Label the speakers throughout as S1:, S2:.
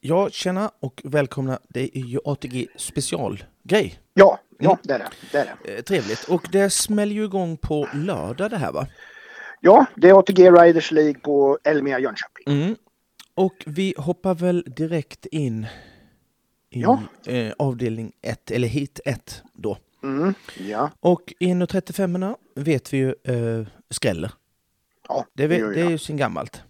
S1: Ja, tjena och välkomna. Det är ju ATG specialgrej.
S2: Ja, ja det, är det. det är det.
S1: Eh, trevligt. Och det smäller ju igång på lördag det här va?
S2: Ja, det är ATG Riders League på Elmia Jönköping.
S1: Mm. Och vi hoppar väl direkt in i
S2: Ja.
S1: eh, avdelning 1, eller hit 1 då.
S2: Mm. Ja,
S1: Och 1.35 vet vi ju eh, skräller.
S2: ja
S1: Det, vet,
S2: gör
S1: det är
S2: jag.
S1: ju sen gammalt.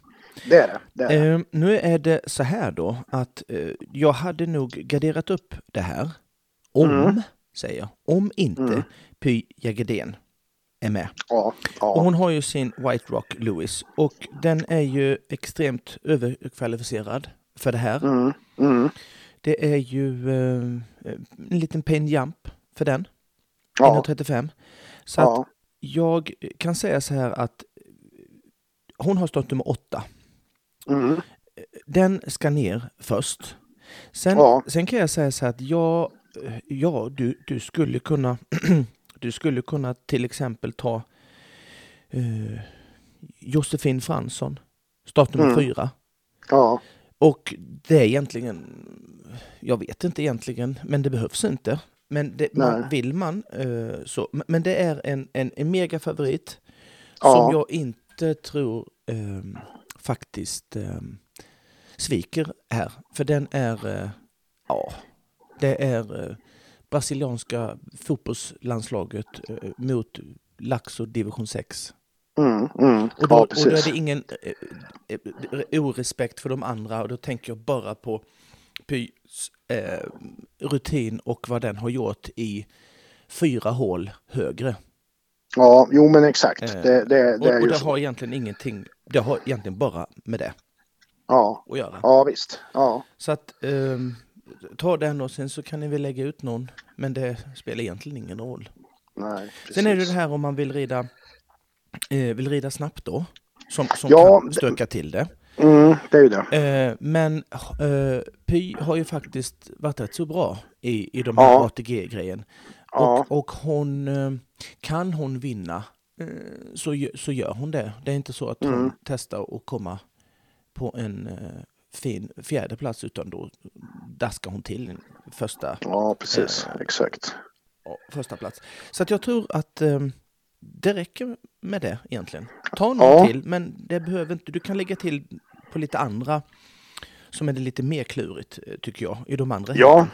S2: det är det. det, är det.
S1: Eh, nu är det så här då att eh, jag hade nog garderat upp det här om,
S2: Mm.
S1: säger jag, om inte Py Jagedén är med.
S2: Ja,
S1: Och
S2: ja.
S1: hon har ju sin White Rock Lewis och den är ju extremt överkvalificerad för det här.
S2: Mm. Mm.
S1: Det är ju eh, en liten pin jump för den,
S2: Ja,
S1: 1.35. Så att
S2: ja,
S1: jag kan säga så här att hon har stått nummer åtta.
S2: mm.
S1: Den ska ner först. Sen,
S2: Ja.
S1: sen kan jag säga så här att ja, eh, ja du, du, skulle kunna, du skulle kunna till exempel ta eh, Josefin Fransson, startnummer
S2: Mm.
S1: fyra.
S2: ja,
S1: Och det är egentligen, jag vet inte egentligen, men det behövs inte. Men det, man,
S2: Nej.
S1: vill man eh, så. Men- Men det är en, en, en megafavorit
S2: Ja.
S1: som jag inte tror ehm, faktiskt ehm, sviker här. För den är, eh, ja, det är eh, brasilianska fotbollslandslaget eh, mot Laxo division 6.
S2: mm. Mm.
S1: Och då,
S2: ja,
S1: och då är
S2: precis.
S1: det ingen eh, eh, eh, orespekt för de andra och då tänker jag bara på Pys eh, rutin och vad den har gjort i fyra hål högre.
S2: Ja, jo men exakt.
S1: Eh,
S2: Det, det,
S1: Och,
S2: det är
S1: och
S2: ju
S1: det
S2: så.
S1: har egentligen ingenting, det har egentligen bara med det
S2: Ja,
S1: att göra.
S2: ja visst. Ja,
S1: Så att ehm, ta den och sen så kan ni väl lägga ut någon, men det spelar egentligen ingen roll.
S2: nej, precis.
S1: Sen är det ju det här om man vill rida, eh, vill rida snabbt då, som, som
S2: Ja,
S1: kan
S2: det-
S1: stöka till det.
S2: Mm, det är ju det.
S1: Eh, men eh, Py har ju faktiskt varit rätt så bra i, i de här
S2: Ja.
S1: ATG-grejen.
S2: Ja.
S1: Och, och hon, eh, kan hon vinna eh, så, gö- så gör hon det. Det är inte så att hon
S2: Mm.
S1: testar att komma på en eh, fin fjärde plats utan då daskar hon till en första,
S2: Ja, precis.
S1: Eh.
S2: Exakt.
S1: ja, första plats. Så att jag tror att eh, det räcker med det egentligen. Ta någon
S2: Ja.
S1: till, men det behöver inte, du kan lägga till på lite andra som är det lite mer klurigt, eh, tycker jag, i de andra.
S2: Ja,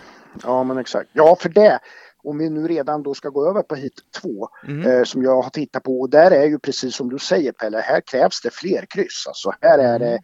S2: ja men exakt. Ja, för det. Om vi nu redan då ska gå över på hit två
S1: Mm.
S2: eh, som jag har tittat på och där är ju precis som du säger Pelle, här krävs det fler kryss. Alltså här är det,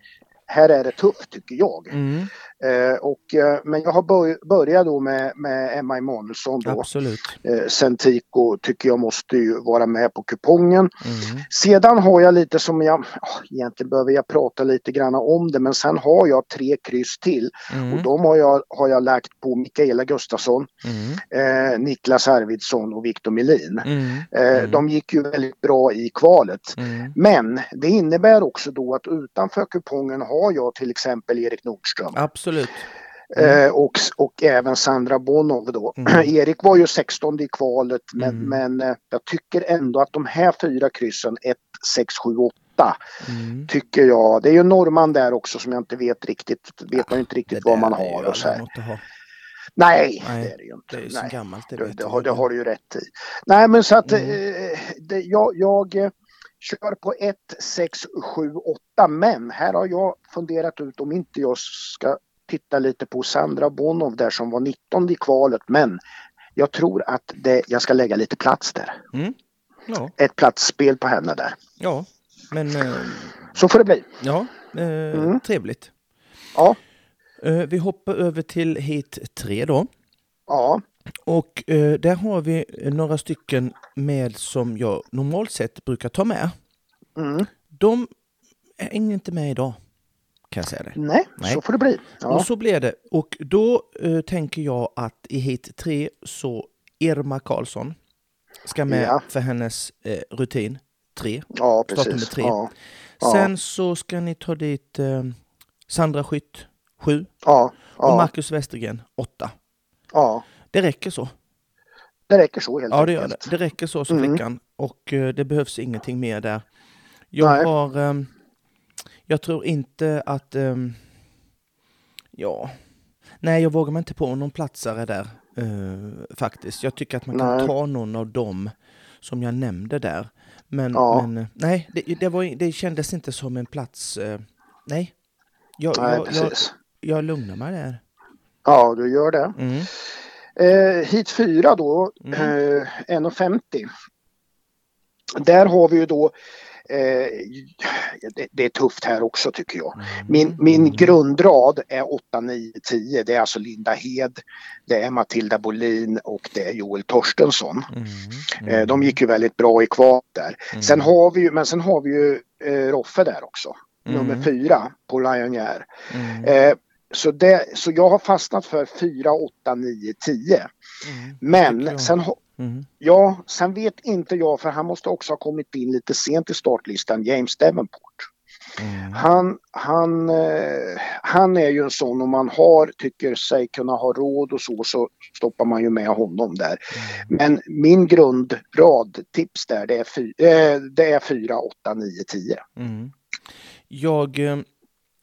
S2: här är det tufft tycker jag.
S1: Mm,
S2: Eh, och, eh, men jag har bör, börjat då med, med Emma Emanuelsson då.
S1: absolut.
S2: Eh, Centico tycker jag måste ju vara med på kupongen.
S1: Mm.
S2: Sedan har jag lite som jag, oh, egentligen behöver jag prata lite grann om det men sen har jag tre kryss till
S1: Mm.
S2: och de har jag, har jag lagt på Mikaela Gustafsson
S1: Mm.
S2: eh, Niklas Arvidsson och Viktor Melin.
S1: Mm.
S2: Eh,
S1: Mm.
S2: De gick ju väldigt bra i kvalet.
S1: Mm.
S2: Men det innebär också då att utanför kupongen har jag till exempel Erik Nordström
S1: Absolut.
S2: eh, och, och även Sandra Bonov då.
S1: Mm.
S2: Erik var ju 16 i kvalet men,
S1: Mm.
S2: men eh, jag tycker ändå att de här fyra kryssen 1, 6, 7, 8
S1: Mm.
S2: tycker jag. Det är ju norrman där också som jag inte vet riktigt, vet man ju inte
S1: Det
S2: riktigt vad
S1: där
S2: man
S1: är ju
S2: har och så
S1: aldrig
S2: här.
S1: något att ha.
S2: Nej,
S1: Nej,
S2: det är det ju
S1: Det
S2: inte.
S1: är ju
S2: Nej.
S1: så gammalt, det
S2: Det,
S1: vet
S2: det,
S1: jag
S2: har,
S1: inte.
S2: det har du ju rätt i. Nej men så att
S1: Mm.
S2: eh, det, jag, jag eh, kör på 1, 6, 7, 8 men här har jag funderat ut om inte jag ska titta lite på Sandra Bonov där som var 19 i kvalet men jag tror att det, jag ska lägga lite plats där.
S1: Mm. Ja,
S2: Ett platsspel på henne där.
S1: ja, men eh,
S2: Så får det bli.
S1: ja, eh,
S2: Mm.
S1: trevligt.
S2: Ja,
S1: Eh, vi hoppar över till hit tre då.
S2: ja,
S1: Och eh, där har vi några stycken med som jag normalt sett brukar ta med.
S2: mm.
S1: De är inte med idag, kan jag säga det.
S2: nej,
S1: Nej.
S2: så får det bli. Ja,
S1: Och så blev det. Och då eh, tänker jag att i hit tre så Irma Karlsson ska med
S2: Ja.
S1: för hennes eh, rutin tre.
S2: ja
S1: nummer
S2: precis.
S1: tre.
S2: Ja, Ja.
S1: Sen så ska ni ta dit eh, Sandra Skytt sju
S2: ja,
S1: och
S2: ja,
S1: Marcus Westergren åtta.
S2: ja.
S1: Det räcker så.
S2: Det räcker så helt
S1: Ja, det gör
S2: enkelt.
S1: det. Det räcker så, så
S2: Mm.
S1: flickan. Och eh, det behövs ingenting mer där. Jag eh,
S2: Nej.
S1: har... ehm, jag tror inte att... ehm, eh, ja, Nej, jag vågar mig inte på någon platsare där eh, faktiskt. Jag tycker att man kan
S2: Nej.
S1: ta någon av dem som jag nämnde där. Men,
S2: Ja.
S1: men eh, nej, det, det, var, det kändes inte som en plats. Eh, nej, jag,
S2: Nej,
S1: jag, jag,
S2: precis.
S1: jag lugnar mig där.
S2: Ja, du gör det.
S1: Mm.
S2: Eh, hit 4 då,
S1: Mm.
S2: eh, 1,50. Där har vi ju då, eh, det, det är tufft här också tycker jag. Min,
S1: Mm.
S2: min grundrad är 8, 9, 10. Det är alltså Linda Hed, det är Matilda Bolin och det är Joel Torstensson.
S1: Mm.
S2: Eh, de gick ju väldigt bra i kval där.
S1: Mm.
S2: Sen har vi ju, men sen har vi ju eh, Roffe där också.
S1: Mm.
S2: Nummer 4 på Lionjär.
S1: Mm.
S2: Eh, så, det, så jag har fastnat för 4, 8, 9, 10.
S1: Mm. Tycker
S2: Men
S1: jag.
S2: sen, ho-
S1: Mm.
S2: ja, sen vet inte jag, för han måste också ha kommit in lite sent i startlistan, James Davenport.
S1: Mm.
S2: Han, han, eh, han är ju en sån, om man har, tycker sig kunna ha råd och så, så stoppar man ju med honom där.
S1: Mm.
S2: Men min grundradtips där, det är, fy, eh, det är 4, 8, 9, 10.
S1: Mm. Jag, eh,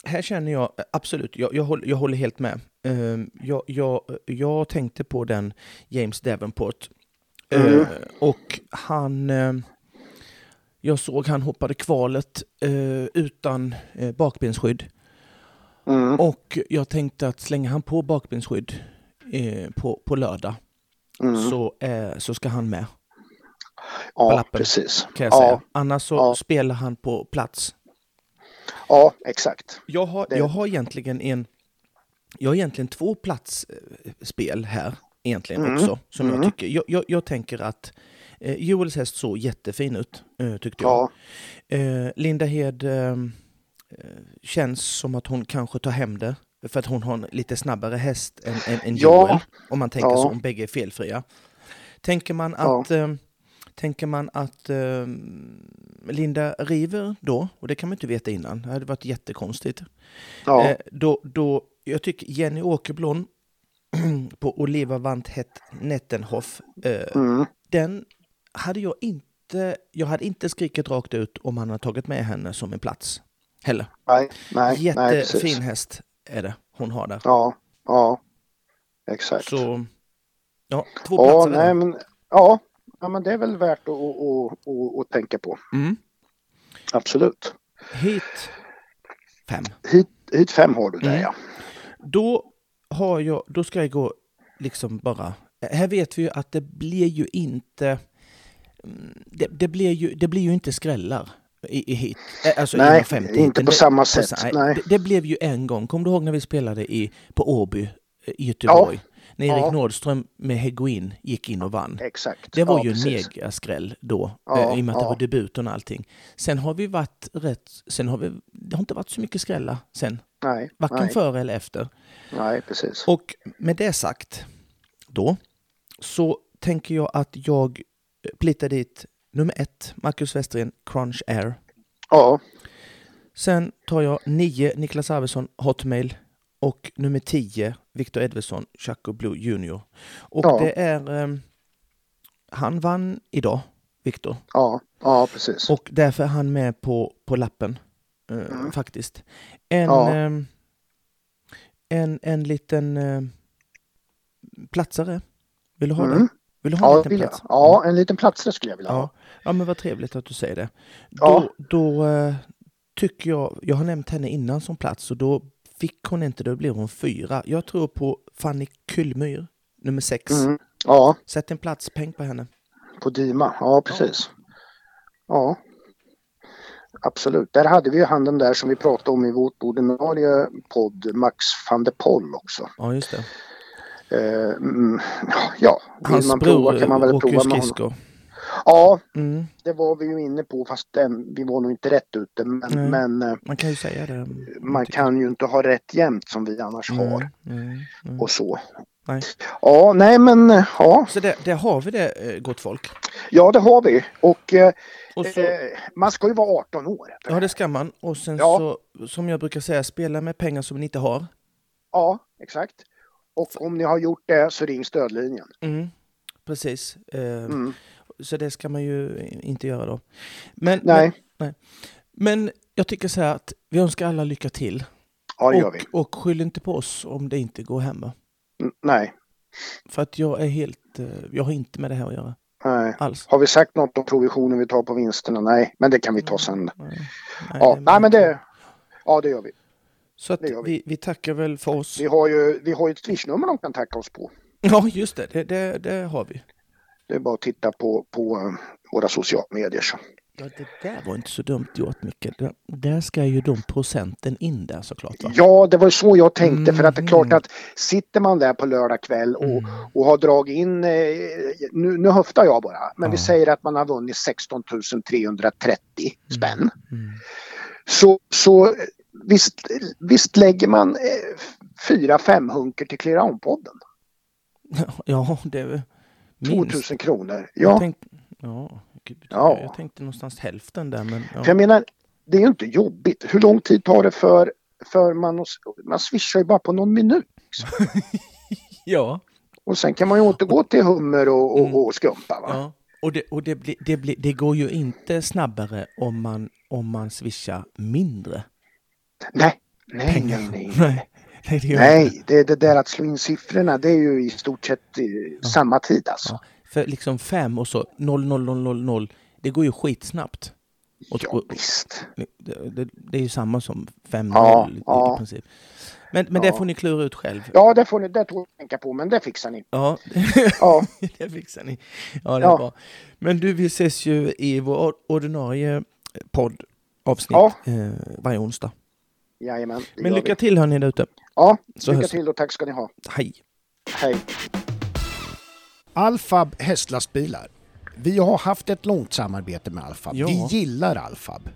S1: här känner jag eh, absolut, jag, jag, håller, jag håller helt med. Eh, Jag, jag, jag tänkte på den James Davenport Eh,
S2: Mm.
S1: och han, eh, jag såg han hoppade kvalet eh, utan eh, bakbensskydd
S2: Mm,
S1: och jag tänkte att slänger han på bakbensskydd eh, på, på lördag
S2: mm.
S1: så, eh, så ska han med
S2: Ja,
S1: lappen.
S2: precis.
S1: kan jag
S2: Ja.
S1: säga. Annars så
S2: Ja.
S1: spelar han på plats
S2: Ja, exakt.
S1: Jag har,
S2: Det-
S1: jag har egentligen en... Jag har egentligen två platsspel här egentligen
S2: Mm.
S1: också som jag
S2: Mm.
S1: tycker. Jag, jag, jag tänker att eh, Joels häst såg jättefin ut eh, tyckte jag.
S2: Ja,
S1: Eh, Linda Hed eh, eh, känns som att hon kanske tar hem det för att hon har en lite snabbare häst än, än, än
S2: Ja.
S1: Joel. Om man tänker
S2: Ja.
S1: så, om bägge är felfria. Tänker man
S2: Ja.
S1: att, eh, tänker man att eh, Linda river då, och det kan man inte veta innan, det hade varit jättekonstigt.
S2: ja,
S1: Eh, då, då, jag tycker Jenny Åkerblom på Oliva Wandhet Nettenhoff, eh,
S2: mm,
S1: den hade jag inte, jag hade inte skrikit rakt ut om han hade tagit med henne som en plats heller.
S2: nej, nej, nej,
S1: Jättefin
S2: precis.
S1: häst är det hon har där.
S2: Ja, ja, exakt.
S1: Så, ja, två
S2: Ja,
S1: platser
S2: nej,
S1: där.
S2: men, ja, ja, men det är väl värt att, att, att, att, att tänka på.
S1: Mm.
S2: Absolut.
S1: Hit fem.
S2: Hit, hit fem har du där
S1: Mm.
S2: ja.
S1: Då har jag, då ska jag gå liksom bara, här vet vi ju att det blir ju inte, mm, det, det, blir, ju, det blir ju inte skrällar i, i hit. Eh, Alltså
S2: Nej,
S1: inom 50
S2: inte på
S1: Det-
S2: samma sätt, nej.
S1: Det, det blev ju en gång, kommer du ihåg när vi spelade i, på Åby eh, i Göteborg? När Erik
S2: Ja.
S1: Nordström med Hegoin gick in och vann.
S2: Exakt.
S1: Det var
S2: ja,
S1: ju en
S2: precis.
S1: megaskräll då,
S2: Ja,
S1: eh, i och med att det
S2: ja.
S1: var debuten och allting. Sen har vi varit rätt, sen har vi, det har inte varit så mycket skrällar sen,
S2: Nej,
S1: varken
S2: nej,
S1: före eller efter.
S2: nej, precis.
S1: Och med det sagt då så tänker jag att jag plittar dit nummer ett, Marcus Westergren, Crunch Air.
S2: Ja,
S1: Sen tar jag nio, Niklas Arvidsson, Hotmail och nummer tio, Victor Edvardsson, Chaco Blue Junior. Och
S2: Ja.
S1: det är... ehm, han vann idag, Victor.
S2: ja, ja, precis.
S1: Och därför är han med på, på lappen, eh,
S2: Mm.
S1: faktiskt. En,
S2: Ja.
S1: ehm, en, en liten eh, platsare. Vill du ha
S2: Mm.
S1: den? Vill du ha en
S2: Ja,
S1: liten
S2: vill jag.
S1: plats? Mm.
S2: ja, en liten plats där skulle jag vilja
S1: Ja.
S2: ha.
S1: ja, men vad trevligt att du säger det.
S2: Ja.
S1: Då, då eh, tycker jag, jag har nämnt henne innan som plats och då fick hon inte, då blev hon fyra. Jag tror på Fanny Kullmyr, nummer sex.
S2: Mm. Ja,
S1: Sätt en platspeng på henne.
S2: på Dima. Ja, precis. Ja. Absolut. Där hade vi ju han den där som vi pratade om i vårt ordinarie podd, Max van der Poll också.
S1: Ja, just det.
S2: Eh, mm, ja, vill
S1: Hans
S2: man
S1: bror
S2: prova kan man väl
S1: åker ju
S2: prova med honom.
S1: skridskor.
S2: Ja,
S1: Mm,
S2: det var vi ju inne på fast den, vi var nog inte rätt ute. Men,
S1: Nej.
S2: men eh,
S1: man kan ju säga det.
S2: man kan ju inte ha rätt jämt som vi annars har.
S1: Mm, mm.
S2: Och så.
S1: Nej.
S2: Ja, nej men eh, ja,
S1: Så där, där har vi det, eh, gott folk.
S2: ja det har vi. Och eh,
S1: Och så,
S2: eh, man ska ju vara 18 år.
S1: ja, det ska man. Och sen
S2: Ja.
S1: så, som jag brukar säga, spela med pengar som ni inte har.
S2: Ja, exakt. Och om ni har gjort det så ring stödlinjen.
S1: Mm, precis. Eh,
S2: Mm.
S1: Så det ska man ju inte göra då. Men,
S2: Nej,
S1: men, men jag tycker så här att vi önskar alla lycka till.
S3: Ja, det gör
S1: Och,
S3: vi.
S1: och skyll inte på oss om det inte går hem. va?
S3: N-
S2: Mm,
S3: Nej,
S1: För att jag är helt... eh, Jag har inte med det här att göra
S3: nej.
S1: alls.
S3: Har vi sagt något om provisionen vi tar på vinsterna? Nej, men det kan vi ta sen.
S1: Mm. Eh, Nej,
S3: Ja, nej, men det, ja, det gör vi.
S1: Så att
S3: det gör vi.
S1: vi, vi tackar väl för oss.
S3: Vi har ju, vi har ju ett swishnummer de kan tacka oss på.
S1: Ja, just det. Det, det, det har vi.
S3: Det är bara att titta på, på eh, våra sociala medier. Så.
S1: Ja, det där var inte så dumt gjort, Micke. Där- Där ska ju de procenten in där såklart. Va?
S3: Ja, det var ju så jag tänkte för att det är klart
S1: Mhm.
S3: att sitter man där på lördag kväll och,
S1: Mm.
S3: och har dragit in, eh, nu, nu höftar jag bara, men vi
S1: Ja.
S3: säger att man har vunnit 16 330 spänn.
S1: Mm.
S3: Så, så eh, visst, visst lägger man eh, f- fyra fem hunker till Clear On-podden.
S1: Ja, det är väl minst.
S3: 2000 kronor.
S1: Jag
S3: Ja,
S1: tänkte, ja, gud,
S3: Ja.
S1: jag tänkte någonstans hälften där, men
S3: för jag
S1: ja.
S3: menar, det är ju inte jobbigt. Hur lång tid tar det för, för man, att- man swishar ju bara på någon minut. liksom.
S1: ja,
S3: Och sen kan man ju återgå till hummer och,
S1: Mm.
S3: och, och skumpa. Va?
S1: ja. Och, det, och det, blir, det, blir, det går ju inte snabbare om man, om man swishar mindre
S3: Nej, nej,
S1: pengar.
S3: nej, nej.
S1: Nej, nej, det gör inte.
S3: Nej, det, det där att slå in siffrorna det är ju i stort sett eh, samma tid alltså.
S1: Ja, för liksom fem och så noll noll noll noll noll det går ju skitsnabbt.
S3: Ja,
S1: Och- och-
S3: visst.
S1: Det, det, det är ju samma som fem
S3: Ja,
S1: noll i,
S3: ja.
S1: i princip. Men, men det
S3: Ja.
S1: får ni klura ut själv.
S3: Ja, det får ni, det tror jag att tänka på, men det fixar ni.
S1: Ja,
S3: Ja,
S1: det fixar ni. Ja, det är
S3: Ja.
S1: bra. Men du, vi ses ju i vår ordinarie poddavsnitt
S3: Ja.
S1: eh, varje onsdag.
S3: jajamän. det
S1: Men
S3: gör
S1: lycka
S3: vi.
S1: till hörni där ute.
S3: Ja,
S1: Så
S3: lycka
S1: hörs vi.
S3: till och tack ska ni ha.
S1: Hej!
S3: Hej.
S2: Alfab hästlastbilar. Vi har haft ett långt samarbete med Alfab.
S1: Ja.
S2: Vi gillar Alfab.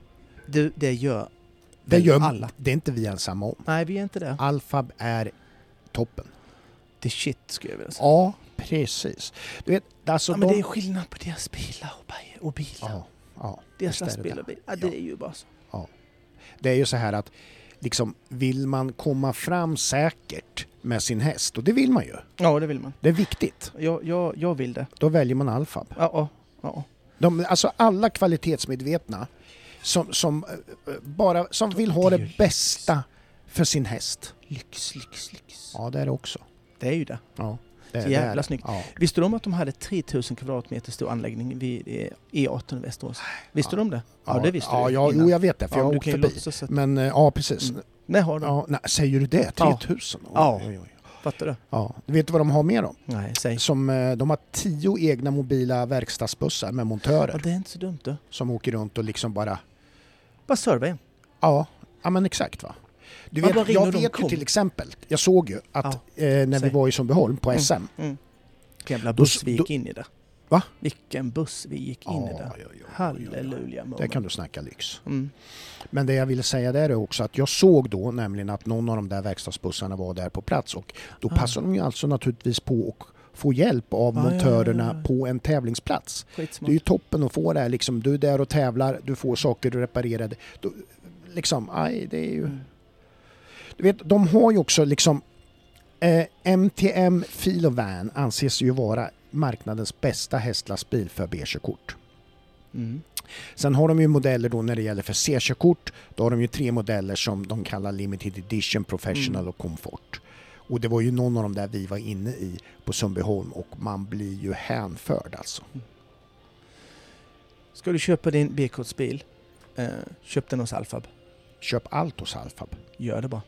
S1: Du, det gör
S2: Det,
S1: väl
S2: gör,
S1: alla.
S2: det är inte vi ensamma om.
S1: Nej, vi är inte där.
S2: Alfab är toppen.
S1: Det är shit skulle jag vilja säga.
S2: Ja, precis. Du vet, alltså
S1: Ja, men
S2: de...
S1: det är skillnad på deras bilar och, bi- och bilar.
S2: ja, ja,
S1: deras
S2: visst är det
S1: lastbilar.
S2: det.
S1: och bilar. Ja, det är ju bara så.
S2: Det är ju så här att liksom, vill man komma fram säkert med sin häst, och det vill man ju.
S1: Ja, det vill man.
S2: Det är viktigt.
S1: Jag, jag, jag vill det.
S2: Då väljer man Alfab.
S1: Ja, ja, ja.
S2: De, alltså alla kvalitetsmedvetna som, som, eh, bara, som vill ha
S1: Det är
S2: det
S1: ju
S2: bästa för sin häst.
S1: Lyx, lyx, lyx.
S2: Ja, det är det också.
S1: Det är ju det.
S2: Ja, det,
S1: Så
S2: det är
S1: jävla
S2: det.
S1: snyggt.
S2: Ja.
S1: Visste du om att de hade 3000 kvadratmeter stor anläggning vid eh, E18 i Västerås? Visste
S2: Ja.
S1: du om det? Ja, det visste
S2: ja,
S1: du
S2: Ja,
S1: innan.
S2: jo, jag vet det, för
S1: Ja,
S2: jag har
S1: du
S2: åkt
S1: kan ju
S2: förbi.
S1: låtsas att-
S2: Men eh, ja, precis.
S1: Mm. Nej, har de.
S2: Ja, nej, säger du det?
S1: Ja.
S2: 3000?
S1: Ja.
S2: Oj, oj, oj.
S1: Fattar du?
S2: ja. Du vet vad de har med dem?
S1: Nej, säg.
S2: Som, eh, de har tio egna mobila verkstadsbussar med
S1: Ja,
S2: montörer
S1: det är inte så dumt du.
S2: som åker runt och liksom bara...
S1: Bara serva en.
S2: Ja, ja men exakt va. Du
S1: Man bara
S2: vet,
S1: ringer och
S2: jag
S1: de
S2: vet ju
S1: kom.
S2: till exempel, jag såg ju att eh, när
S1: säg. Mm.
S2: vi var i Sundbyholm på SM,
S1: Vilken jävla
S2: Då s-
S1: buss vi gick in i där.
S2: Va?
S1: Vilken buss vi gick in i
S2: Ja,
S1: där.
S2: ja, ja, ja, ja.
S1: Halleluja moment.
S2: där kan du snacka lyx.
S1: Mm.
S2: Men det jag ville säga där är också att jag såg då nämligen att någon av de där verkstadsbussarna var där på plats och då
S1: Ah.
S2: passade de ju alltså naturligtvis på att få hjälp av
S1: Ah, ja, ja,
S2: montörerna
S1: ja, ja.
S2: på en tävlingsplats. Det är
S1: Skitsmart.
S2: ju toppen att få det här liksom, du är där och tävlar, du får saker reparerade. Då, liksom, aj, det är ju...
S1: Mm.
S2: Du vet, de har ju också liksom eh, MTM Filovan anses ju vara marknadens bästa hästlastbil för B-körkort.
S1: Mm.
S2: Sen har de ju modeller då när det gäller för C-körkort. Då har de ju tre modeller som de kallar Limited Edition, Professional och Comfort. Och det var ju någon av de där vi var inne i på Sundbyholm och man blir ju hänförd alltså.
S1: Ska du köpa din B-kortsbil, eh, köp den hos Alfab.
S2: Köp allt hos Alfab.
S1: Gör det bara.